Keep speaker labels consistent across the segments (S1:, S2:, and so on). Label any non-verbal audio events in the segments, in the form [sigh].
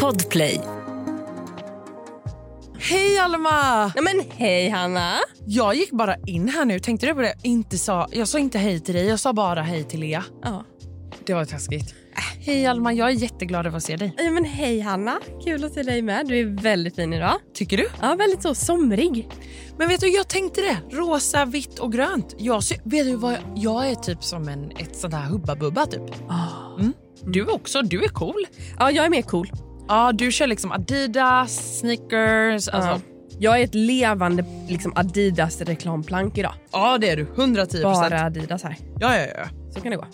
S1: Podplay.
S2: Hej Alma!
S1: Nej men hej Hanna.
S2: Jag gick bara in här nu. Tänkte du på det? Inte sa, jag sa inte hej till dig, jag sa bara hej till Lea.
S1: Ja.
S2: Det var taskigt. Hej Alma, jag är jätteglad över att se dig.
S1: Ja, men hej Hanna. Kul att se dig med. Du är väldigt fin idag.
S2: Tycker du?
S1: Ja, väldigt så somrig.
S2: Men vet du, jag tänkte det. Rosa, vitt och grönt. Jag, ser, vet du vad, jag- jag är typ som en, ett sånt här hubba-bubba typ. Mm. Du också, du är cool.
S1: Ja, jag är mer cool.
S2: Ja, du kör liksom Adidas, sneakers.
S1: Ja.
S2: Alltså.
S1: Jag är ett levande liksom, Adidas-reklamplank idag.
S2: Ja, det är du. 110
S1: Bara Adidas här.
S2: Ja, ja, ja.
S1: Så kan det gå.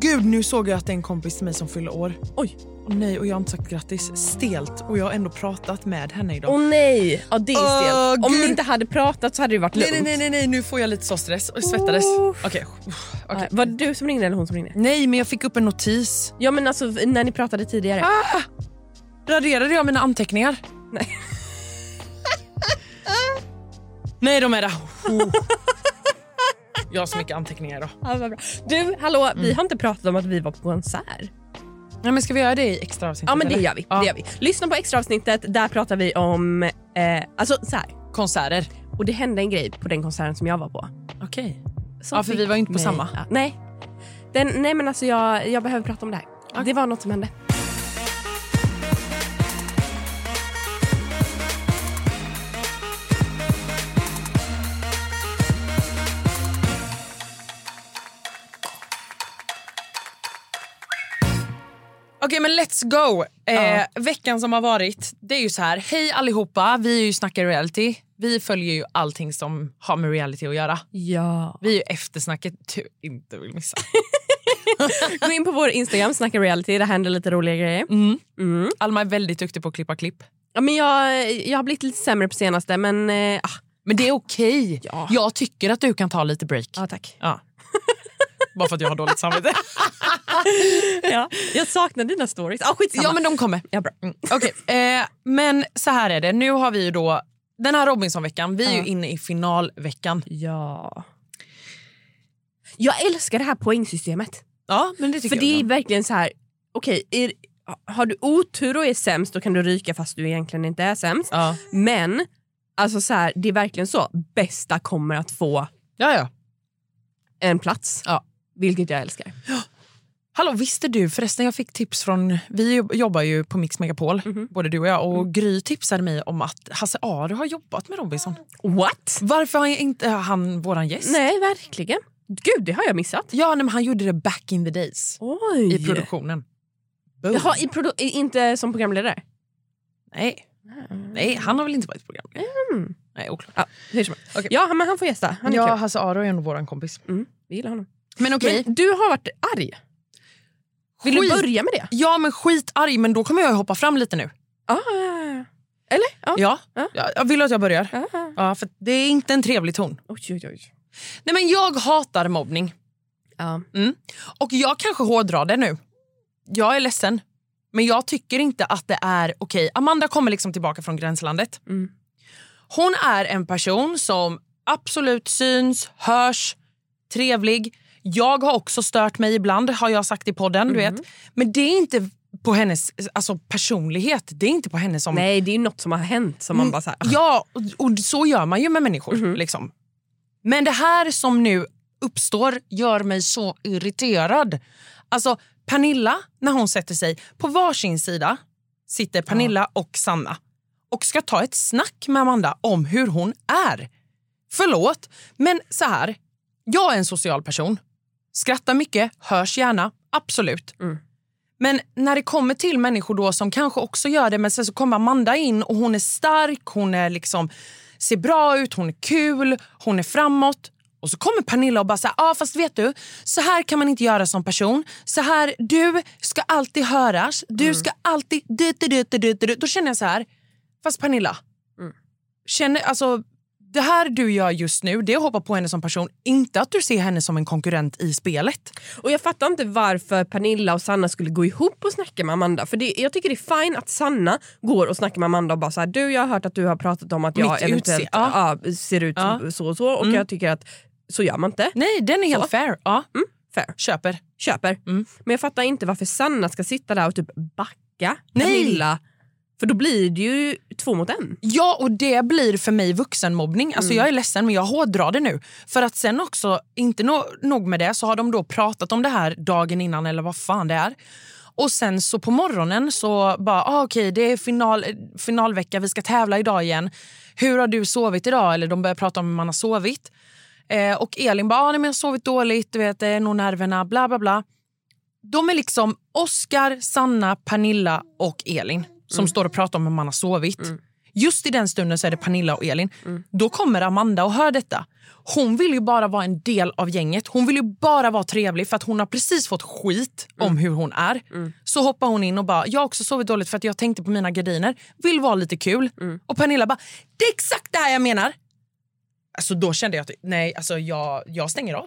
S2: Gud, nu såg jag att det är en kompis till mig som fyller år.
S1: Oj.
S2: Och nej, och jag har inte sagt grattis. Stelt. Och jag har ändå pratat med henne idag.
S1: Åh nej! Ja, det är
S2: Åh,
S1: stelt. Om
S2: gud.
S1: ni inte hade pratat så hade det varit lugnt.
S2: nej, nej, nej, nej, nej, nu får jag lite så stress. Och jag svettades.
S1: Uff.
S2: Okej. uff, okej.
S1: Ja, Var det du som ringde eller hon som ringde?
S2: Nej, men jag fick upp en notis.
S1: Ja men alltså när ni pratade tidigare.
S2: Raderade jag mina anteckningar?
S1: Nej.
S2: [laughs] nej, de är där. Oh. Jag har så mycket anteckningar idag.
S1: Ja, vad bra. Du, hallå,
S2: Mm.
S1: vi har inte pratat om att vi var på konsert.
S2: Nej, men ska vi göra det i extra avsnitt?
S1: Ja men det
S2: eller?
S1: gör, vi,
S2: Ja.
S1: det gör vi. Lyssna på extra avsnittet. Där pratar vi om... Eh, alltså så här.
S2: Konserter.
S1: Och det hände en grej på den konserten som jag var på.
S2: Okej.
S1: Som
S2: Ja, för vi
S1: fick
S2: var ju inte på
S1: mig-
S2: samma.
S1: Ja, nej. Den, nej men alltså jag, jag behöver prata om det här. Det var något som hände.
S2: Okej men let's go! Eh, Veckan som har varit, det är ju så här. Hej allihopa, vi är ju Snacka reality. Vi följer ju allting som har med reality att göra.
S1: Ja.
S2: Vi är ju eftersnacket du inte vill [laughs] missa.
S1: Gå in på vår Instagram, snacka reality. Där händer lite roliga grejer. Mm.
S2: Alma är väldigt duktig på att klippa klipp.
S1: Ja, men jag, jag har blivit lite sämre på senaste men... Eh, ah,
S2: Men det är okej.
S1: Ja.
S2: Jag tycker att du kan ta lite break.
S1: ja tack.
S2: Ja. Bara för att jag har dåligt samvete.
S1: ja. Jag saknar dina stories. Ah, skitsamma.
S2: [laughs] ja men de kommer.
S1: ja, bra.
S2: Mm. Okej, eh, men så här är det. Nu har vi ju då den här Robinsonveckan, vi är
S1: Ja.
S2: ju inne i finalveckan.
S1: Ja. Jag älskar det här poängsystemet.
S2: Ja, men det
S1: För
S2: jag
S1: det är
S2: då.
S1: verkligen så här, okej, är, har du otur och är sämst då kan du ryka fast du egentligen inte är sämst.
S2: Ja.
S1: Men alltså så här, det är verkligen så, bästa kommer att få
S2: Ja, ja.
S1: en plats.
S2: Ja.
S1: Vilket jag älskar.
S2: Hallå, visste du förresten, jag fick tips från... Vi jobb- jobbar ju på Mix Megapol,
S1: Mhm.
S2: både du och jag. Och
S1: Mm.
S2: Gry tipsade mig om att Hasse Aro har jobbat med Robinson.
S1: What?
S2: Varför har inte han våran gäst?
S1: Nej, verkligen. Gud, det har jag missat.
S2: Ja, nej, men han gjorde det back in the days
S1: Oj.
S2: i produktionen. Boom.
S1: Jaha, i produ- i- inte som programledare?
S2: Nej. nej, han har väl inte varit program?
S1: Mm.
S2: Nej, oklart.
S1: Ja, hur som helst.
S2: Okej.
S1: ja, men han får gästa. Han är
S2: ja,
S1: kul.
S2: Hasse Aro är ändå våran kompis.
S1: Mm, vi gillar honom.
S2: Men okej.
S1: Men du har varit arg. Vill
S2: Skit-
S1: du börja med det?
S2: Ja, men skitarg, men då kommer jag hoppa fram lite nu.
S1: Ah. Eller? Ja.
S2: Ja,
S1: Ja.
S2: ja jag vill du att jag börjar?
S1: Ah.
S2: Ja, för det är inte en trevlig ton.
S1: Oj, oj, oj.
S2: Nej, men jag hatar mobbning.
S1: Ja.
S2: Och jag kanske hårdrar det nu. Jag är ledsen. Men jag tycker inte att det är okej. Amanda kommer liksom tillbaka från gränslandet.
S1: Mm.
S2: Hon är en person som absolut syns, hörs, trevlig. Jag har också stört mig ibland, har jag sagt i podden. Du vet. Men det är inte på hennes alltså, personlighet. Det är inte på henne som...
S1: Nej, det är ju något som har hänt som
S2: Mm.
S1: man bara så här, Mhm.
S2: Ja, och, och så gör man ju med människor. Liksom. Men det här som nu uppstår gör mig så irriterad. Alltså Pernilla, när hon sätter sig på varsin sida sitter Pernilla och Sanna och ska ta ett snack med Amanda om hur hon är. Förlåt, men så här. Jag är en social person. Skrattar mycket, hörs gärna, absolut.
S1: Mm.
S2: Men när det kommer till människor då som kanske också gör det men sen så kommer Amanda in och hon är stark, hon är liksom, ser bra ut, hon är kul, hon är framåt. Och så kommer Pernilla och bara säger, ah, fast vet du, så här kan man inte göra som person. Så här, du ska alltid höras, du ska alltid... Dit, dit, dit, dit, dit. Då känner jag så här, fast Pernilla, Mm. känner, alltså, det här du gör just nu det är att hoppa på henne som person, inte att du ser henne som en konkurrent i spelet.
S1: Och jag fattar inte varför Pernilla och Sanna skulle gå ihop och snacka med Amanda. För det, jag tycker det är fine att Sanna går och snackar med Amanda och bara så här, du jag har hört att du har pratat om att jag
S2: Mitt
S1: eventuellt
S2: utse- ja.
S1: ja, ser ut
S2: Ja. Mm.
S1: så och så och jag tycker att så gör man inte.
S2: Nej, den är helt fair. Ja,
S1: Fair.
S2: köper.
S1: Köper.
S2: Mm.
S1: Men jag fattar inte varför Sanna ska sitta där och typ backa backa
S2: Nej.
S1: Pernilla. För då blir det ju två mot en.
S2: Ja, och det blir för mig vuxenmobbning. Alltså, Jag är ledsen, men jag hårdrar det nu. För att sen också, inte no nog med det, så har de då pratat om det här dagen innan eller vad fan det är. Och sen så på morgonen så bara, ah, okej det är final, finalvecka, vi ska tävla idag igen. Hur har du sovit idag? Eller de börjar prata om hur man har sovit. Eh, och Elin bara, ah, nej, men jag har sovit dåligt, du vet, det är nog nerverna, bla bla bla. De är liksom Oscar, Sanna, Pernilla och Elin som står och pratar om hur man har sovit. Just i den stunden så är det Pernilla och Elin. Då kommer Amanda och hör detta. Hon vill ju bara vara en del av gänget. Hon vill ju bara vara trevlig för att hon har precis fått skit om hur hon är. Så hoppar hon in och bara, jag har också sovit dåligt för att jag tänkte på mina gardiner. Vill vara lite kul. Och Pernilla bara, det är exakt det här jag menar. Alltså då kände jag att nej, alltså jag, jag stänger av.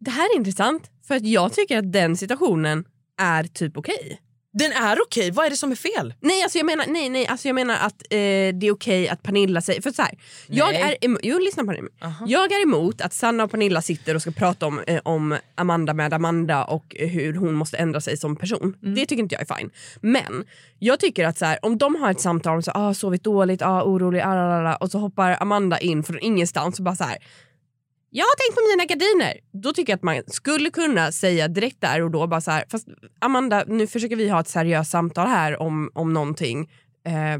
S1: Det här är intressant för att jag tycker att den situationen är typ okej.
S2: Den är okej, vad är det som är fel?
S1: Nej, alltså jag menar, nej, nej, alltså jag menar att eh, det är okej att Pernilla säger... För så här, jag,
S2: Nej.
S1: är emo- jo, lyssna på det.
S2: Aha.
S1: jag är emot att Sanna och Pernilla sitter och ska prata om, eh, om Amanda med Amanda och eh, hur hon måste ändra sig som person.
S2: Mm.
S1: Det tycker inte jag är fine. Men jag tycker att så här, om de har ett samtal om så här, ah, sovit dåligt, ah, orolig, ah, la, la, la", och så hoppar Amanda in från ingenstans och bara så här... Jag har tänkt på mina gardiner. Då tycker jag att man skulle kunna säga direkt där och då bara så här, fast Amanda, nu försöker vi ha ett seriöst samtal här om, om någonting. Eh,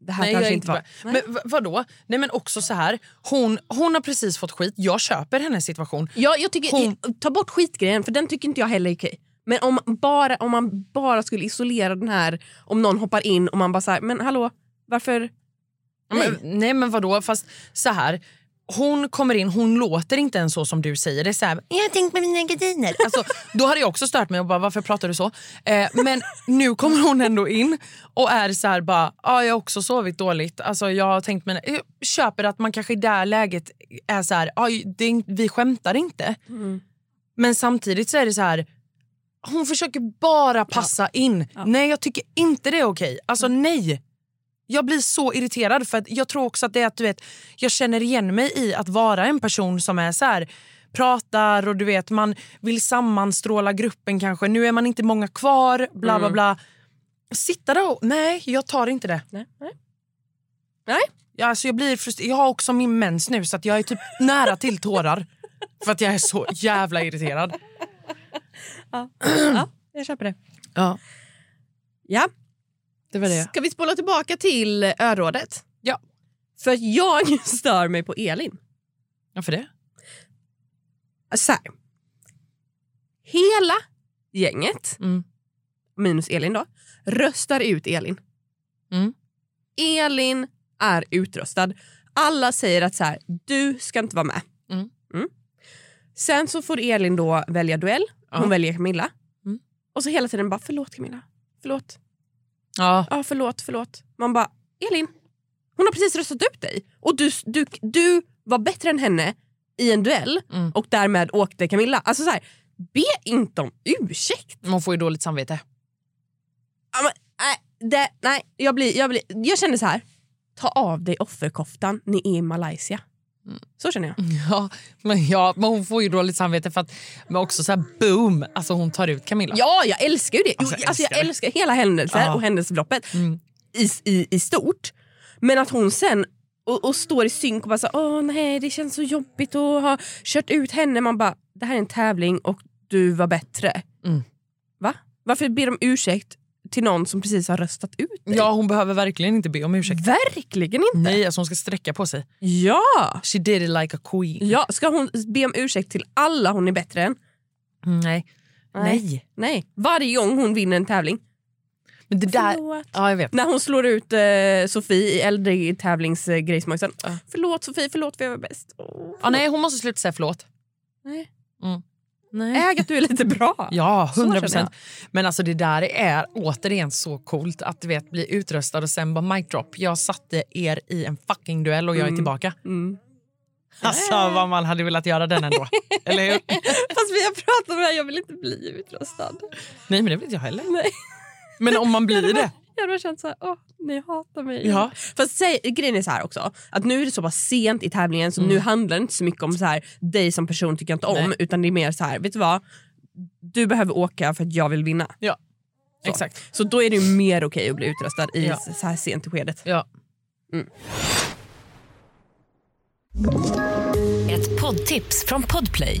S1: det här
S2: Nej, jag
S1: kanske
S2: är
S1: inte var...
S2: inte var... Men v- vadå? Nej men också så här, hon, hon har precis fått skit. Jag köper hennes situation.
S1: Ja, jag tycker,
S2: Hon-
S1: Ta bort skitgrejen, för den tycker inte jag heller är okej. Men om, bara, om man bara skulle isolera den här, om någon hoppar in och man bara så här, men hallå, varför? Nej.
S2: Men, nej men vadå? Fast så här, hon kommer in, hon låter inte ens så som du säger. Det är så här, jag har tänkt på mina gardiner. Alltså, då hade jag också stört mig och bara, varför pratar du så? Eh, men nu kommer hon ändå in och är så här bara, ah, jag har också sovit dåligt. Alltså, jag har tänkt mina... Jag köper att man kanske i det här läget är så här, ah, det är, in- vi skämtar inte. Men samtidigt så är det så här, hon försöker bara passa in. Nej, jag tycker inte det är okej. Alltså nej. Jag blir så irriterad för att jag tror också att det är att du vet, jag känner igen mig i att vara en person som är så här pratar och du vet man vill sammanstråla gruppen kanske. Nu är man inte många kvar, bla bla bla. Sitta där och, nej jag tar inte det.
S1: Nej, nej.
S2: Jag, alltså, jag blir frustrerad. Jag har också min mens nu så att jag
S1: [laughs]
S2: är typ nära till tårar. För att jag är så jävla irriterad.
S1: ja, jag köper det.
S2: Ja,
S1: Ja.
S2: det var
S1: Ska vi spola tillbaka till eh, örådet?
S2: Ja.
S1: För att jag [laughs] stör mig på Elin. Alltså
S2: Varför det?
S1: så här. Hela gänget,
S2: Mm.
S1: minus Elin då, röstar ut Elin.
S2: Mm.
S1: Elin är utröstad. Alla säger att så här, du ska inte vara med.
S2: Mm.
S1: Sen så får Elin då välja duell. Hon
S2: Ja.
S1: väljer Camilla.
S2: Mm.
S1: Och så hela tiden bara förlåt Camilla, förlåt
S2: Ja.
S1: ja förlåt, förlåt. Man bara, Elin, hon har precis röstat ut dig. Och du, du, du var bättre än henne i en duell
S2: Mm.
S1: och därmed åkte Camilla. Alltså så här, be inte om ursäkt.
S2: Man får ju dåligt samvete. [laughs]
S1: Ja, men, nej, det, nej, jag, blir, jag, blir, jag känner så här, ta av dig offerkoftan, ni är i Malaysia.
S2: Mm.
S1: Så känner jag.
S2: Ja, men, ja, men hon får ju dåligt samvete för att men också så här boom, alltså hon tar ut Camilla.
S1: Ja, jag älskar ju det. Jo,
S2: Alltså,
S1: alltså,
S2: jag
S1: jag,
S2: älskar
S1: älskar
S2: det.
S1: hela händelsen
S2: Ja.
S1: och händelseförloppet
S2: Mm.
S1: i, i, i stort. Men att hon sen och, och står i synk och bara så, åh nej det känns så jobbigt att ha kört ut henne. Man bara, det här är en tävling och du var bättre.
S2: Mm.
S1: Va? Varför ber de ursäkt till någon som precis har röstat ut dig?
S2: ja, hon behöver verkligen inte be om ursäkt.
S1: Verkligen inte!
S2: Nej, alltså hon ska sträcka på sig.
S1: Ja.
S2: She did it like a queen.
S1: ja! Ska hon be om ursäkt till alla hon är bättre än?
S2: Nej. Nej.
S1: Mm. Nej. Varje gång hon vinner en tävling.
S2: Men det där...
S1: Förlåt.
S2: Ja, jag vet.
S1: När hon slår ut eh, Sofie i äldre tävlingsgrejsmojsen.
S2: Ja.
S1: Förlåt Sofie, förlåt för jag var bäst. Åh,
S2: Ja, nej, hon måste sluta säga förlåt.
S1: Nej.
S2: Mm.
S1: nej. Äg att du är lite bra.
S2: Ja,
S1: Så
S2: hundra
S1: känner
S2: procent. Men alltså det där är återigen så coolt att du vet, bli utröstad och sen bara mic drop. Jag satte er i en fucking duell och jag är
S1: Mm.
S2: tillbaka.
S1: Mm.
S2: Alltså vad man hade velat göra den [laughs] ändå. Eller hur?
S1: Fast vi har pratat om det här, jag vill inte bli utröstad.
S2: Nej, men det vill inte jag heller.
S1: Nej.
S2: Men om man blir det.
S1: Jag hade bara känt såhär, åh, ni hatar mig.
S2: Ja.
S1: Fast säg, grejen är så här också, att nu är det så pass sent i tävlingen så nu handlar det inte så mycket om så här, dig som person tycker jag inte om,
S2: Nej.
S1: utan det är mer så här, vet du vad? Du behöver åka för att jag vill vinna.
S2: Ja.
S1: Så.
S2: Exakt.
S1: Så då är det ju mer okej att bli utröstad i
S2: Ja.
S1: så här sent i skedet.
S2: Ja.
S3: Ett poddtips från Podplay.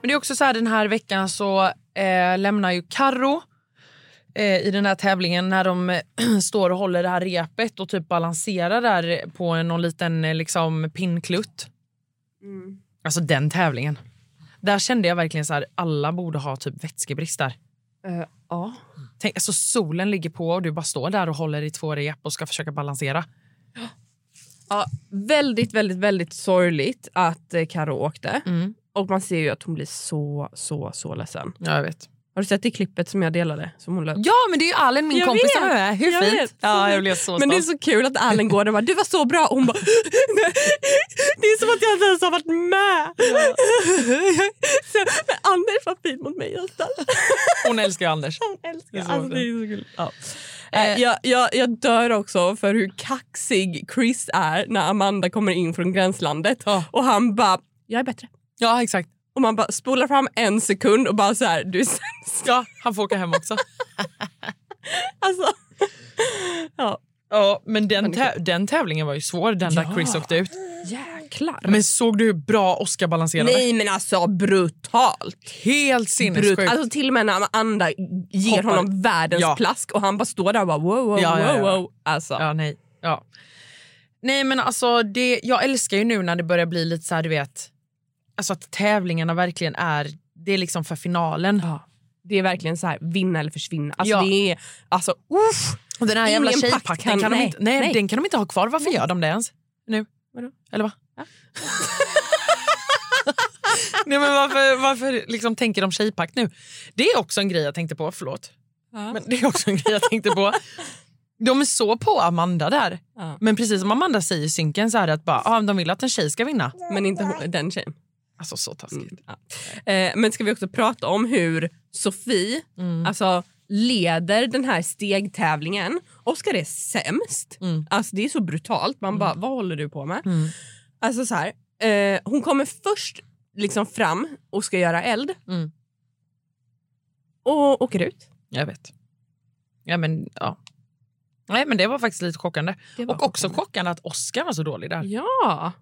S2: Men det är också så här den här veckan så eh, lämnar ju Karo eh, i den här tävlingen när de [clears throat] eh, står och håller det här repet och typ balanserar där på en- någon liten eh, liksom pinnklutt.
S1: Mm.
S2: Alltså den tävlingen. Där kände jag verkligen så här alla borde ha typ vätskebrist där. Eh,
S1: ja.
S2: Tänk, alltså solen ligger på och du bara står där och håller i två rep och ska försöka balansera.
S1: Ja, väldigt, väldigt, väldigt sorgligt att eh, Karo åkte.
S2: Mm.
S1: Och man ser ju att hon blir så, så, så ledsen.
S2: Ja, jag vet.
S1: Har du sett det klippet som jag delade? Som hon la upp?
S2: Ja, men det är ju Allen, min
S1: Jag
S2: kompis,
S1: vet.
S2: som är med. Hur
S1: Jag
S2: fint?
S1: vet.
S2: Ja, jag blev så
S1: Men det är
S2: stolt.
S1: så kul att Allen går där och bara “du var så bra” och hon bara [laughs] "Nej, “det är som att jag inte ens har varit med”. [laughs] så, men Anders var fin mot mig just där.
S2: Hon älskar ju Anders.
S1: Hon älskar
S2: Det är så
S1: alltså, det
S2: fint.
S1: är så kul. Ja. Eh, jag, jag, jag dör också för hur kaxig Chris är när Amanda kommer in från gränslandet
S2: Ja.
S1: och han bara “jag är bättre”.
S2: Ja, exakt.
S1: Och man bara spolar fram en sekund och bara så här, du är sämst.
S2: Ja, han får åka hem också.
S1: Alltså. Ja.
S2: Ja, men den, tä- den tävlingen var ju svår, den där
S1: Ja.
S2: Chris åkte ut.
S1: Jäklar.
S2: Men såg du hur bra Oscar balanserade?
S1: Nej men alltså brutalt.
S2: Helt sinnessjukt.
S1: Brut. Alltså till och med när Amanda ger
S2: Hoppar.
S1: honom världens
S2: Ja.
S1: plask och han bara står där och bara wow wow
S2: Ja,
S1: wow,
S2: ja, ja.
S1: wow. Alltså.
S2: ja, nej. Ja. Nej, men alltså, det, jag älskar ju nu när det börjar bli lite så här, du vet, alltså att tävlingarna verkligen är, det är liksom för finalen.
S1: Det är verkligen så här vinna eller försvinna. Alltså
S2: Ja.
S1: det är alltså uff.
S2: Och den här
S1: In
S2: jävla
S1: i en pakt,
S2: tjejpakten kan,
S1: Ah, nej,
S2: de inte, nej,
S1: nej.
S2: Den kan de inte ha kvar. Varför gör de det ens? Nu?
S1: Vadå?
S2: Eller va? [laughs] nej, men varför varför liksom tänker de tjejpakt nu? Det är också en grej jag tänkte på. Förlåt.
S1: Ja.
S2: Men det är också en grej jag tänkte på. De är så på Amanda där.
S1: Ja.
S2: Men precis som Amanda säger i synken så är det att bara, ah, de vill att en tjej ska vinna.
S1: Men inte hon- den tjejen.
S2: Alltså så taskigt.
S1: Ja. Eh, men ska vi också prata om hur Sofie alltså, leder den här stegtävlingen. Oskar är sämst. Alltså, det är så brutalt. Man bara, vad håller du på med? Alltså så här, eh, Hon kommer först liksom fram och ska göra eld.
S2: Mm.
S1: Och åker ut.
S2: Jag vet. Ja, men, ja. Nej, men det var faktiskt lite chockande.
S1: Det var
S2: Och också chockande att Oscar var så dålig där.
S1: Ja,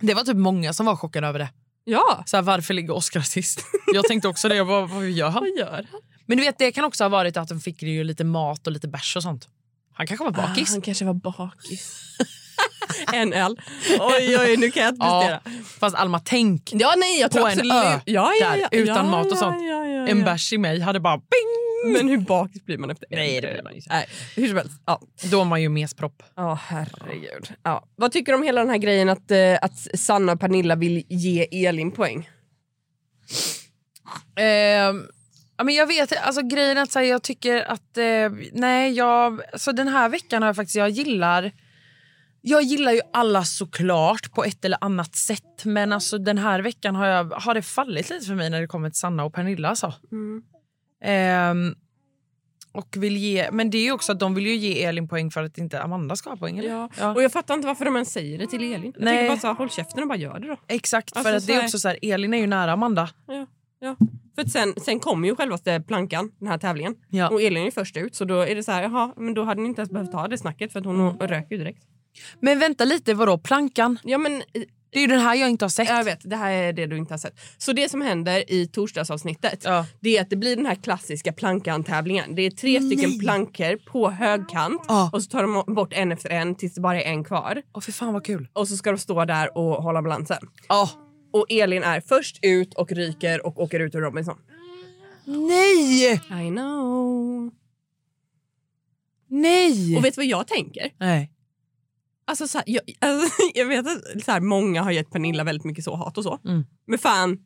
S2: Det var typ många som var chockade över det.
S1: ja.
S2: Så här, varför ligger Oscar sist? [laughs] Jag tänkte också det. Jag bara, vad gör han?
S1: Vad gör han?
S2: Men du vet, det kan också ha varit att de fick ju lite mat och lite bärs och sånt. Han kanske var
S1: Ah,
S2: bakis.
S1: han kanske var bakis. [laughs] en öl. Oj, oj, nu kan jag inte prestera.
S2: Fast Alma, tänk.
S1: Ja, nej, [laughs] jag tror
S2: På en
S1: absolut.
S2: ö
S1: ja, ja,
S2: där,
S1: ja,
S2: utan
S1: ja,
S2: mat och
S1: ja,
S2: sånt.
S1: Ja, ja,
S2: En
S1: ja.
S2: bärs i mig hade bara... Bing!
S1: Men hur bakis blir man efter det?
S2: Nej, det blir man inte.
S1: Nej, hur som helst. Ja,
S2: Då var man ju mespropp.
S1: oh, herregud. Ja. Vad tycker du om hela den här grejen att, eh, att Sanna och Pernilla vill ge Elin poäng?
S2: Ehm, ja, men jag vet, alltså grejen är att så här, jag tycker att... Eh, nej, jag... Alltså, den här veckan har jag faktiskt... Jag gillar... Jag gillar ju alla såklart på ett eller annat sätt men alltså den här veckan har, jag, har det fallit lite för mig när det kommer till Sanna och Pernilla. Alltså.
S1: Mm.
S2: Ehm, och vill ge, men det är ju också att de vill ju ge Elin poäng för att inte Amanda ska ha poäng. Eller?
S1: Ja.
S2: Ja.
S1: Och jag fattar inte varför de ens säger det till Elin. Jag
S2: Nej.
S1: tycker bara så här, håll käften och bara gör det då.
S2: Exakt,
S1: Alltså,
S2: för att
S1: så
S2: det är
S1: här-
S2: också så här, Elin är ju nära Amanda.
S1: Ja. Ja. För att sen, sen kommer ju självaste plankan, den här tävlingen.
S2: Ja.
S1: Och Elin är först ut så då är det så här, jaha, men då hade ni inte ens behövt ha det snacket för att hon röker ju direkt.
S2: Men vänta lite, vadå plankan?
S1: Mm. Ja men eh,
S2: Det är ju den här jag inte har sett.
S1: Jag vet, det här är det du inte har sett. Så det som händer i torsdagsavsnittet
S2: Ja.
S1: det är att det blir den här klassiska plankan-tävlingen. Det är tre stycken plankor på högkant
S2: Ja.
S1: och så tar de bort en efter en tills det bara är en kvar.
S2: Åh, för fan vad kul.
S1: Och så ska de stå där och hålla balansen.
S2: Ja.
S1: Och Elin är först ut och ryker och åker ut ur Robinson.
S2: Nej!
S1: I know.
S2: Nej!
S1: Och vet du vad jag tänker?
S2: Nej.
S1: Alltså, så här, jag, alltså, [laughs] jag vet att så här, många har gett Pernilla väldigt mycket så hat och så.
S2: Mm.
S1: Men fan,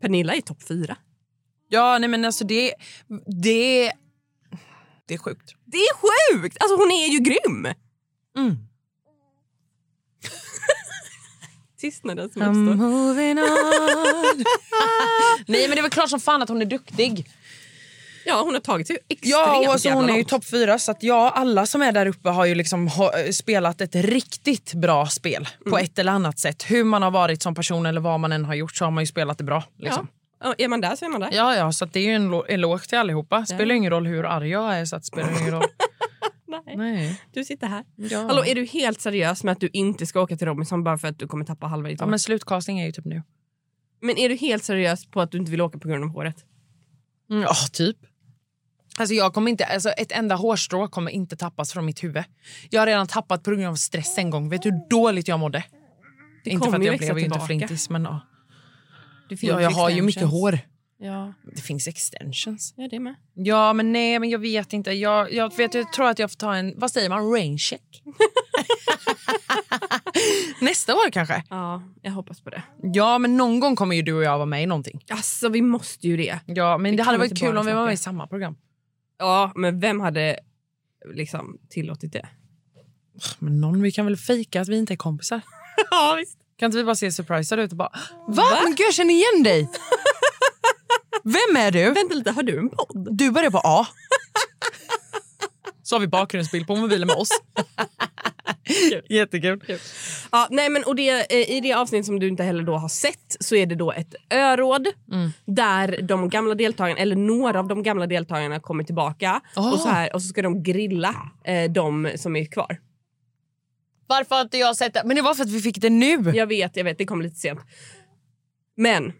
S1: Pernilla är topp fyra.
S2: Ja, nej men alltså det... Det, det är sjukt.
S1: Det är sjukt! Alltså hon är ju grym!
S2: Mm.
S1: [laughs] Tystnaden som
S2: I'm
S1: uppstår.
S2: moving on. [laughs] nej men det är väl klart som fan att hon är duktig.
S1: Ja, hon har tagit sig extremt
S2: Ja, och alltså,
S1: jävla
S2: hon är ju
S1: långt.
S2: topp fyra så att ja, alla som är där uppe har ju liksom ha- spelat ett riktigt bra spel på ett eller annat sätt. Hur man har varit som person eller vad man än har gjort så har man ju spelat det bra. Liksom.
S1: Ja. Är man där så är man där.
S2: Ja. ja, så att det är ju en lo- eloge till allihopa. Spelar ingen roll hur arg jag är så att det spelar ingen roll.
S1: Nej.
S2: [laughs] Nej.
S1: Du sitter här.
S2: Ja.
S1: Hallå, är du helt seriös med att du inte ska åka till Robinson bara för att du kommer tappa halva ditt
S2: Ja,
S1: hår?
S2: men
S1: men...
S2: slutkastning är ju typ nu.
S1: är du helt seriös på att du inte vill åka på grund av håret?
S2: Ja, typ. Alltså jag kommer inte, alltså ett enda hårstrå kommer inte tappas från mitt huvud. Jag har redan tappat på grund av stress en gång. Vet du hur dåligt jag mådde?
S1: Det
S2: inte för
S1: kommer
S2: att
S1: ju
S2: jag
S1: växa
S2: blev ju inte
S1: tillbaka.
S2: flintis men ja.
S1: Det finns
S2: ja jag har ju mycket
S1: extensions.
S2: hår.
S1: liksom Ja,
S2: Det finns extensions.
S1: ja det med.
S2: Ja, men nej, men jag vet inte. Jag, jag, vet, jag tror att jag får ta en... Vad säger man? Raincheck? [laughs] Nästa år kanske?
S1: Ja, jag hoppas på det.
S2: Ja, men någon gång kommer ju du och jag vara med i någonting.
S1: Alltså, vi måste ju det.
S2: Ja, men
S1: Vi
S2: det hade
S1: kan
S2: varit
S1: inte bara
S2: kul om vi var
S1: snacka.
S2: med i samma program.
S1: Ja, men vem hade liksom tillåtit
S2: [laughs]
S1: det?
S2: Men någon, vi kan väl fejka att vi inte är kompisar?
S1: Ja, visst.
S2: Kan inte vi bara se surprisade ut och bara... Va? Men gud, jag känner igen dig! Vem är du?
S1: Vänta lite, har du en podd?
S2: Du börjar på A. Så har vi bakgrundsbild på mobilen med [laughs] oss. Jättekul.
S1: Ja, nej, men, och det, eh, I det avsnitt som du inte heller då har sett så är det då ett öråd
S2: Mm.
S1: där de gamla deltagarna, eller några av de gamla deltagarna kommer tillbaka
S2: Ah.
S1: och, så här, och så ska de grilla eh, de som är kvar.
S2: Varför har inte jag sett det? Men det var för att vi fick det nu.
S1: Jag vet, jag vet, det kom lite sent. Men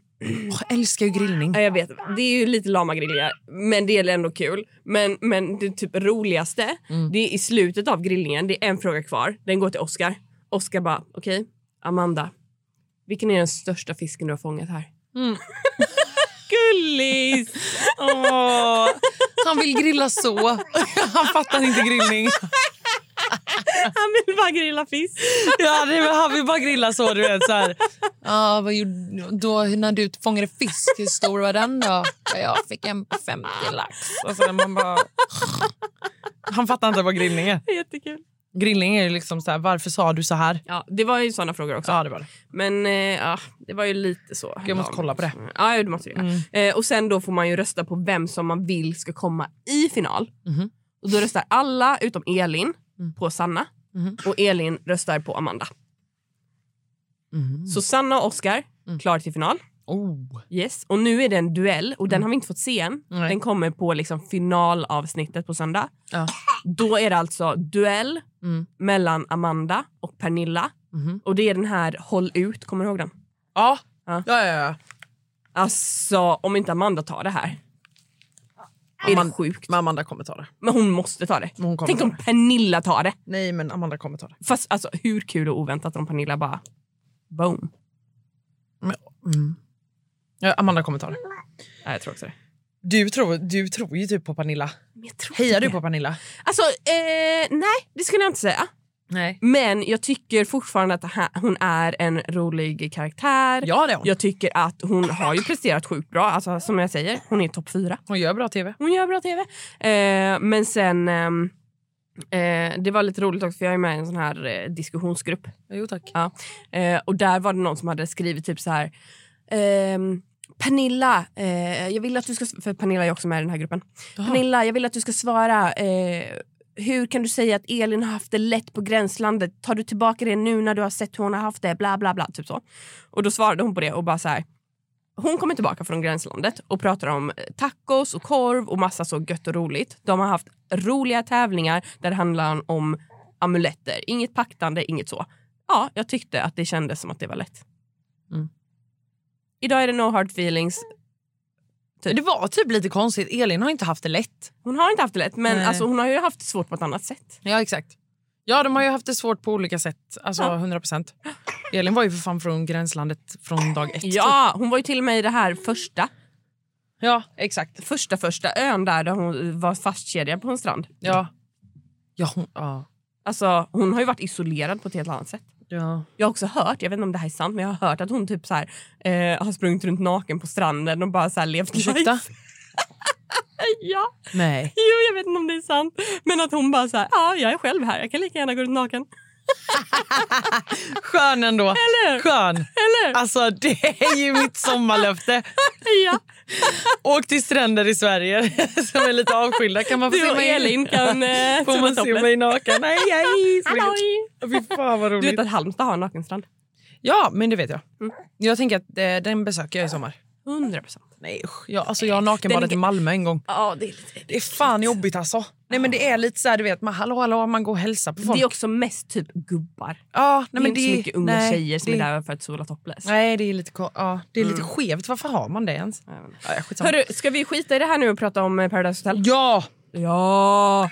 S2: Jag älskar ju grillning.
S1: Ja, jag vet. Det är ju lite lama grillningar, men det är ändå kul. Men, men det typ roligaste,
S2: Mm.
S1: det är i slutet av grillningen, det är en fråga kvar. Den går till Oscar. Oscar bara, okej, Amanda, vilken är den största fisken du har fångat här?
S2: Mm.
S1: [laughs] Gullis!
S2: Han vill grilla [laughs] så. Han fattar inte grillning.
S1: Han vill bara grilla fisk.
S2: Ja, det är, han vill bara grilla så. Du vet, så här. Ja, vad gjorde, då, när du fångade fisk, hur stor var den då? Ja, jag fick en på 50 lax. Alltså, man bara... Han fattar inte vad grillning är.
S1: Jättekul.
S2: Grillning är ju liksom så här, varför sa du så här?
S1: Ja, det var ju såna frågor också.
S2: Ja, det var det.
S1: Men eh, ja, det var ju lite så.
S2: Jag måste kolla på det. Mm.
S1: Ja, ja, det måste du göra. Eh, och sen då får man ju rösta på vem som man vill ska komma i final.
S2: Mhm. Mm.
S1: Och då röstar alla utom Elin på Sanna
S2: Mhm.
S1: och Elin röstar på Amanda.
S2: Mhm.
S1: Så Sanna och Oscar
S2: Mm.
S1: klar till final.
S2: Oh.
S1: Yes. Och nu är det en duell och den har vi inte fått se än.
S2: Mm. Nej.
S1: Den kommer på liksom finalavsnittet på söndag.
S2: Ja.
S1: Då är det alltså duell
S2: Mm.
S1: mellan Amanda och Pernilla.
S2: Mhm.
S1: Och det är den här Håll ut, kommer du ihåg den?
S2: Ja.
S1: Ja.
S2: Ja, ja, ja.
S1: Alltså om inte Amanda tar det här. Är det
S2: Amanda-
S1: sjukt?
S2: Men Amanda kommer ta det.
S1: Men hon måste ta det.
S2: Men hon kommer
S1: Tänk
S2: ta
S1: om Pernilla tar det.
S2: Nej, men Amanda kommer ta det.
S1: Fast alltså, hur kul och oväntat om Pernilla bara... Boom.
S2: Ja, Amanda kommer ta det.
S1: Nej, jag tror också det.
S2: Du tror, du tror ju typ på Pernilla.
S1: Men jag tror
S2: Hejar
S1: inte
S2: du
S1: det.
S2: på Pernilla?
S1: Alltså, eh, nej, det skulle jag inte säga.
S2: Nej.
S1: Men jag tycker fortfarande att ha- hon är en rolig karaktär.
S2: Ja, det är hon.
S1: Jag tycker att hon har ju presterat sjukt bra. Alltså, som jag säger, hon är topp fyra.
S2: Hon gör bra tv.
S1: Hon gör bra tv. Eh, men sen... ehm, eh, det var lite roligt också, för jag är med i en sån här eh, diskussionsgrupp.
S2: Jo, tack.
S1: Ja. Eh, och där var det någon som hade skrivit typ så här... Ehm, Pernilla, eh, jag vill att du ska... För Pernilla är också med i den här gruppen. Pernilla, jag vill att du ska svara. Eh, hur kan du säga att Elin har haft det lätt på gränslandet? Tar du tillbaka det nu när du har sett hur hon har haft det? Bla, bla, bla. Typ så. Och då svarade hon på det och bara så här. Hon kommer tillbaka från gränslandet och pratar om eh, tacos och korv och massa så gött och roligt. De har haft roliga tävlingar där det handlar om amuletter. Inget paktande, inget så. Ja, jag tyckte att det kändes som att det var lätt.
S2: Mm.
S1: Idag är det no hard feelings.
S2: Det var typ lite konstigt. Elin har inte haft det lätt.
S1: Hon har inte haft det lätt, men
S2: Nej.
S1: alltså, hon har ju haft det svårt på ett annat sätt.
S2: Ja, exakt. Ja, de har ju haft det svårt på olika sätt. Alltså, 100 procent. Elin var ju för fan från gränslandet från dag ett. typ.
S1: Ja, hon var ju till och med i det här första,
S2: ja exakt.
S1: första, första ön där, där hon var fastkedjad på en strand.
S2: Ja. Ja, hon, ja.
S1: Alltså, hon har ju varit isolerad på ett helt annat sätt.
S2: Ja.
S1: Jag har också hört, jag vet inte om det här är sant, men jag har hört att hon typ så här, eh, har sprungit runt naken på stranden och bara så här levt
S2: Ursäkta?
S1: life. [laughs] Ja,
S2: Nej.
S1: jo, jag vet inte om det är sant. Men att hon bara så här, ja, jag är själv här, jag kan lika gärna gå runt naken.
S2: Skön ändå.
S1: Eller?
S2: Skön.
S1: Eller?
S2: Alltså, det är ju mitt sommarlöfte.
S1: Ja.
S2: Åk till stränder i Sverige [laughs] som är lite avskilda. Kan man få
S1: Du
S2: se
S1: och
S2: mig?
S1: Elin kan eh,
S2: [laughs] Får man
S1: tumma
S2: se
S1: toppen.
S2: mig naken? Nej, nej. så
S1: Halloj!
S2: gott. Fy fan vad
S1: Du vet
S2: roligt. Mm.
S1: att Halmstad har en nakenstrand?
S2: Ja, men det vet jag. Jag tänker att eh, den besöker jag i sommar.
S1: 100 procent.
S2: Nej usch. Jag, alltså, jag har nakenbadat
S1: Den-
S2: i Malmö en gång.
S1: Ja, det är lite...
S2: Det är fan jobbigt alltså. Nej men det är lite så här, du vet, man, hallå hallå, man går och hälsar på folk.
S1: Det är också mest typ gubbar.
S2: ja,
S1: Det
S2: nej,
S1: är
S2: men
S1: inte så mycket unga
S2: nej,
S1: tjejer som
S2: det,
S1: är där för att sola topless.
S2: Nej, det är lite, ko- ja, det är lite skevt. Varför har man det ens? Mm. Ja, ja, skitsamma.
S1: Hörru, ska vi skita i det här nu och prata om eh, Paradise Hotel?
S2: ja!
S1: Ja!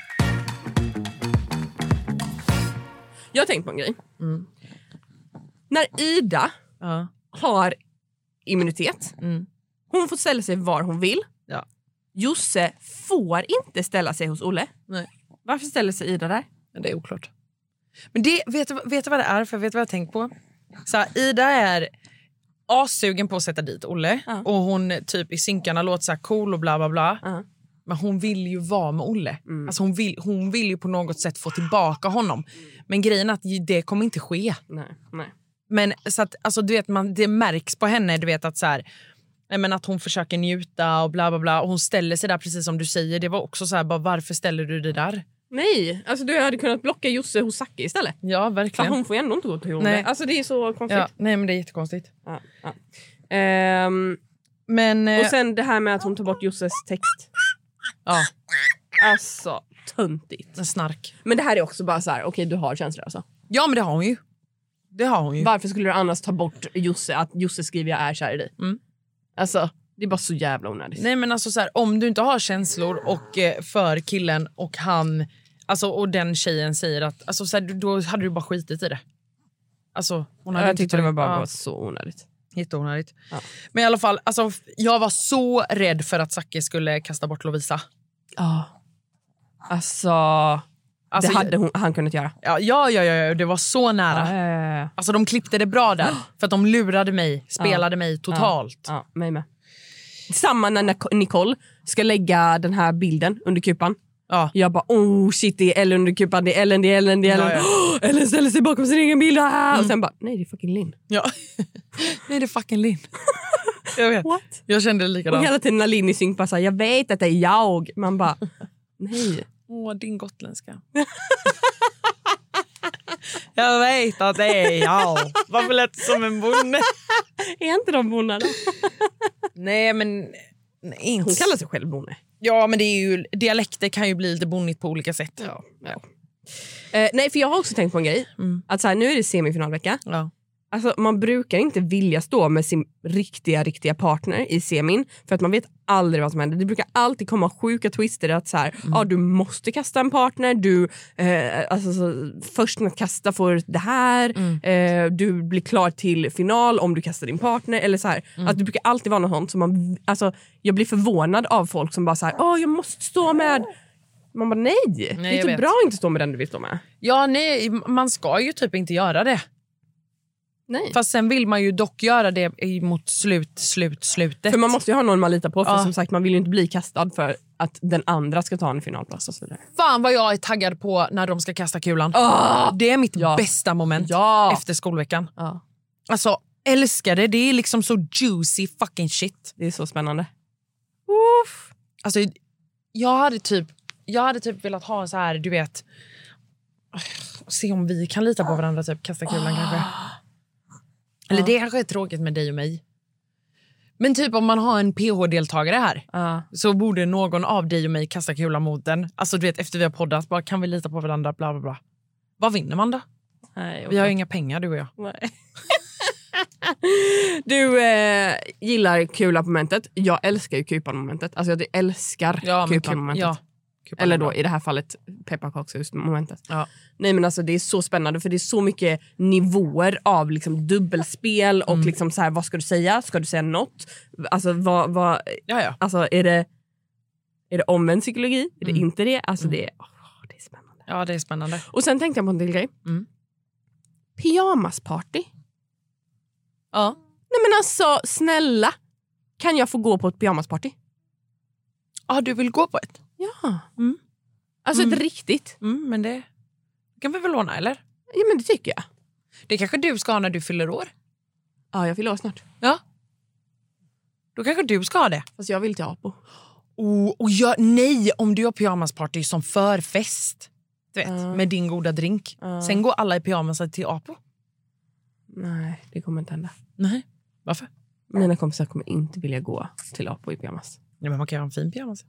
S1: Jag har tänkt på en grej.
S2: Mm.
S1: När Ida
S2: ja.
S1: har immunitet,
S2: Mm.
S1: hon får ställa sig var hon vill.
S2: Ja.
S1: Josse får inte ställa sig hos Olle.
S2: Nej.
S1: Varför ställer sig Ida där?
S2: Men det är oklart. Men det, vet, du- vet du vad det är? För jag vet vad jag har tänkt på? Så här, Ida är assugen på att sätta dit Olle
S1: Ja.
S2: och hon typ i synkarna låter så här cool och bla bla bla.
S1: Ja. Mm.
S2: Men hon vill ju vara med Olle. Alltså hon, vill, hon vill ju på något sätt få tillbaka honom. Men grejen är att det kommer inte ske.
S1: Nej, nej.
S2: Men så att, alltså, du vet, man, det märks på henne du vet, att, så här, nej, men att hon försöker njuta och bla bla bla. Och hon ställer sig där precis som du säger. Det var också så här, bara, varför ställer du dig där?
S1: Nej, alltså du hade kunnat blocka Josse hos Zacke istället.
S2: Ja,
S1: För
S2: verkligen.
S1: hon får ju ändå inte gå till Olle.
S2: Nej.
S1: Alltså det är så konstigt.
S2: Ja, nej men det är jättekonstigt.
S1: Ja, ja. Ehm,
S2: Men, eh,
S1: och sen det här med att hon tar bort Josses text.
S2: ja,
S1: Alltså töntigt.
S2: en snark.
S1: Men det här är också bara så här, okej du har känslor alltså.
S2: Ja men det har hon ju. Det har hon ju.
S1: Varför skulle du annars ta bort Josse, att Josse skriver jag är kär i dig?
S2: Mm.
S1: Alltså det är bara så jävla onödigt.
S2: Nej men alltså så här, om du inte har känslor och eh, för killen och han, alltså och den tjejen säger att, alltså så här, då hade du bara skitit i det. Alltså hon hade
S1: jag
S2: inte
S1: tyckte det var
S2: tagit-
S1: bara
S2: ja.
S1: var så onödigt.
S2: Jätteonödigt.
S1: Ja.
S2: Men i alla fall, alltså, jag var så rädd för att Zacke skulle kasta bort Lovisa.
S1: Ja. Alltså,
S2: Alltså,
S1: det hade hon, han kunnat göra.
S2: ja, ja, ja, ja, det var så nära.
S1: Ja,
S2: Alltså, de klippte det bra där, för att de lurade mig, spelade mig totalt.
S1: ja, mig med. Samma när Nic- Nicole ska lägga den här bilden under kupan.
S2: Ja.
S1: Jag bara oh shit det är Ellen under kupan, det är Ellen, det är Ellen, det är Ellen.
S2: Ja, ja.
S1: Åh, [gasps] Ellen ställer sig bakom sin egen bild. Ah! Och sen bara nej det är fucking Linn.
S2: Ja. [laughs] Nej, det är fucking Linn. [laughs] jag vet.
S1: What?
S2: Jag kände det
S1: Och
S2: likadant.
S1: hela tiden när Linn i synk bara så här, jag vet att det är jag. Man bara nej.
S2: Åh, din gotländska. [laughs] jag vet att det är jag. Varför lät det som en bonde?
S1: Är inte de bonnarna?
S2: Nej, men... Nej, inte.
S1: Hon kallar sig själv bonne.
S2: Ja, men det är ju, dialekter kan ju bli lite bonnigt på olika sätt. Ja. Ja.
S1: Eh, nej för jag har också tänkt på en grej. Att så här, nu är det semifinalvecka. Alltså, man brukar inte vilja stå med sin riktiga, riktiga partner i semin för att man vet aldrig vad som händer. Det brukar alltid komma sjuka twister att så här,
S2: Mm.
S1: ah, du måste kasta en partner, du, eh, alltså, så, först med att kasta får det här,
S2: Mm.
S1: eh, du blir klar till final om du kastar din partner. Eller så här.
S2: Mm.
S1: Alltså, det brukar alltid vara något sånt. Så man, alltså, jag blir förvånad av folk som bara så här, ah, jag måste stå med... Man bara nej, det
S2: jag
S1: är inte
S2: vet.
S1: bra att inte stå med den du vill stå med.
S2: ja, nej, man ska ju typ inte göra det.
S1: Nej.
S2: Fast sen vill man ju dock göra det i- mot slut, slut, slutet.
S1: För man måste ju ha någon man litar på. För
S2: Ja.
S1: som sagt, man vill ju inte bli kastad för att den andra ska ta en finalplats och så vidare.
S2: Fan vad jag är taggad på när de ska kasta kulan. Det är mitt
S1: Ja.
S2: bästa moment
S1: Ja.
S2: efter skolveckan.
S1: Ja.
S2: Alltså, älskar det. Det är liksom så juicy fucking shit.
S1: Det är så spännande.
S2: Alltså, jag hade typ, jag hade typ velat ha en så här, du vet... Se om vi kan lita på varandra, typ. Kasta kulan kanske. Eller det kanske är tråkigt med dig och mig. Men typ om man har en PH-deltagare här så borde någon av dig och mig kasta kulan mot den. Alltså du vet efter vi har poddat, bara kan vi lita på varandra, bla bla bla. Vad vinner man då?
S1: Nej,
S2: Vi har ju inga pengar du och jag.
S1: Nej. [laughs] du eh, gillar kula-momentet. Jag älskar ju kupan-momentet. Alltså jag älskar
S2: men
S1: kupan-momentet.
S2: ja. Kupan
S1: Eller
S2: är bra.
S1: då i det här fallet pepparkakshus-momentet.
S2: Ja.
S1: Nej men alltså det är så spännande för det är så mycket nivåer av liksom dubbelspel
S2: Mm.
S1: och liksom så här, vad ska du säga? Ska du säga något? Alltså vad, vad,
S2: Ja, ja.
S1: Alltså är det, är det omvänd psykologi? Är det inte det? Alltså det, är- åh, det är spännande.
S2: ja, det är spännande.
S1: Och sen tänkte jag på en till grej.
S2: Mm.
S1: Pyjamasparty?
S2: Ja.
S1: Nej men alltså snälla, kan jag få gå på ett pyjamasparty?
S2: ja, du vill gå på ett?
S1: Ja.
S2: Mm.
S1: Alltså
S2: Mm.
S1: ett riktigt.
S2: Mm, men det kan vi väl låna, eller?
S1: Ja men det tycker jag.
S2: Det kanske du ska ha när du fyller år?
S1: Ja jag fyller år snart.
S2: Ja. Då kanske du ska ha det?
S1: Fast jag vill till Apo.
S2: Oh, och jag, nej, om du har pyjamasparty som förfest du vet,
S1: Ja.
S2: med din goda drink.
S1: Ja.
S2: Sen går alla i pyjamasar till Apo.
S1: Nej det kommer inte hända.
S2: Nej, varför?
S1: Mina kompisar kommer inte vilja gå till Apo i pyjamas.
S2: Nej, men man kan ju ha en fin pyjamas.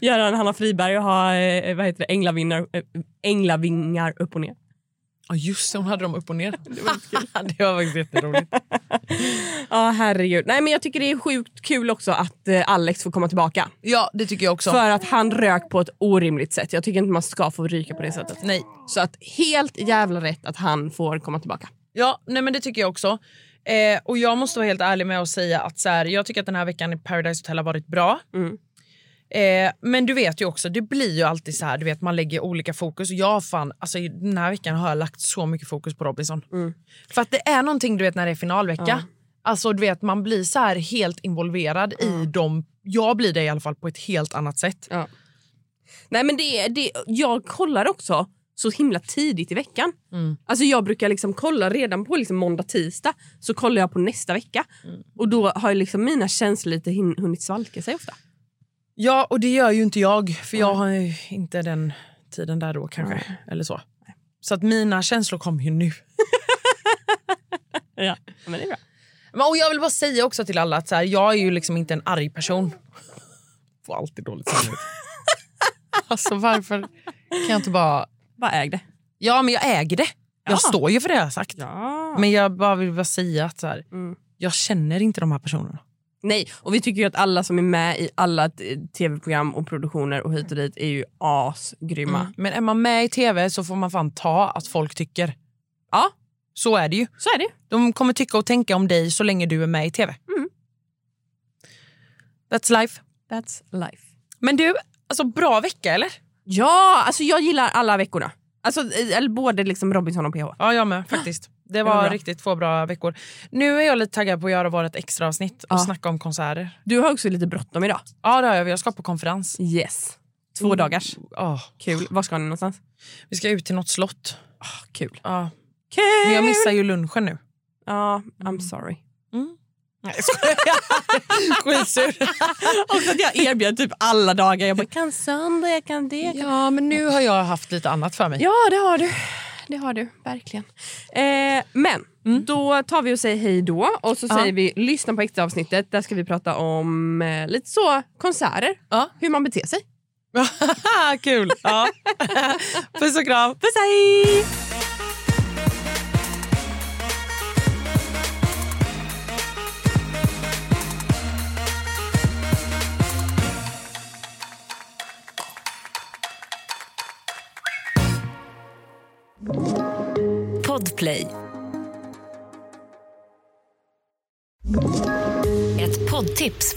S1: Göran Hanna Friberg och ha eh, vad heter det, änglavingar, eh, änglavingar upp och ner.
S2: Ja, just det, hon hade dem upp och ner. [laughs] det var Det var faktiskt jätteroligt.
S1: Ja herregud. Nej men jag tycker det är sjukt kul också att eh, Alex får komma tillbaka.
S2: Ja, det tycker jag också.
S1: För att han rök på ett orimligt sätt. Jag tycker inte man ska få ryka på det sättet.
S2: Nej.
S1: Så att helt jävla rätt att han får komma tillbaka.
S2: Ja, nej men det tycker jag också. Eh, och jag måste vara helt ärlig med att säga att så här, jag tycker att den här veckan i Paradise Hotel har varit bra.
S1: Mm.
S2: Eh, men du vet ju också, det blir ju alltid så här, du vet man lägger olika fokus. Och jag har fan, alltså i den här veckan har jag lagt så mycket fokus på Robinson.
S1: Mm.
S2: För att det är någonting du vet när det är finalvecka. Alltså du vet man blir så här helt involverad i dem. Jag blir det i alla fall på ett helt annat sätt.
S1: Nej men det, det, jag kollar också så himla tidigt i veckan.
S2: Mm.
S1: Alltså jag brukar liksom kolla redan på liksom måndag, tisdag. Så kollar jag på nästa vecka. Och då har ju liksom mina känslor lite hin- hunnit svalka sig ofta.
S2: Ja och det gör ju inte jag för jag har ju inte den tiden där då kanske. Eller så. Så att mina känslor kommer ju nu.
S1: Ja, men det är bra.
S2: Men, och jag vill bara säga också till alla att så här, jag är ju liksom inte en arg person. [laughs] Får alltid dåligt samvete. [laughs] alltså varför kan jag inte bara...
S1: Bara äg det.
S2: Ja men jag äger det. Jag
S1: Ja.
S2: står ju för det jag har sagt.
S1: Ja.
S2: Men jag bara vill bara säga att så här,
S1: Mm.
S2: jag känner inte de här personerna.
S1: Nej, och vi tycker ju att alla som är med i alla t- tv-program och produktioner och hit och dit är ju asgrymma.
S2: Men är man med i tv så får man fan ta att folk tycker.
S1: Ja.
S2: Så är det ju.
S1: Så är det ju.
S2: De kommer tycka och tänka om dig så länge du är med i tv.
S1: Mm.
S2: That's life.
S1: That's life.
S2: Men du, alltså bra vecka eller?
S1: Ja, alltså jag gillar alla veckorna. Alltså, eh, eller både liksom Robinson och PH.
S2: Ja, [gasps] jag med faktiskt. Det
S1: var
S2: var
S1: bra.
S2: riktigt två bra veckor. Nu är jag lite taggad på att göra vårt extra avsnitt och
S1: Ja.
S2: snacka om konserter.
S1: Du har också lite bråttom idag.
S2: Ja, det har jag. Jag ska på konferens.
S1: Yes. Två dagars.
S2: Mm. Ja,
S1: Kul. Var ska ni någonstans?
S2: vi ska ut till något slott.
S1: Ah, kul.
S2: Ja,
S1: Kul!
S2: men jag missar ju lunchen [laughs] nu.
S1: Ja, I'm sorry.
S2: Nej, jag skojar. [laughs] Skitsur.
S1: Också
S2: [laughs]
S1: att jag erbjöd typ alla dagar. Jag bara, kan söndag, jag kan det.
S2: Ja, men nu har jag haft lite annat för mig.
S1: Ja, det har du. Det har du, verkligen. Eh, men då tar vi och säger hej då och så säger vi lyssna på extra avsnittet. Där ska vi prata om eh, lite så konserter,
S2: Ja.
S1: hur man beter sig.
S2: Kul! Ja. [laughs] Puss och kram.
S1: Puss hej!
S3: Podplay. Ett poddtips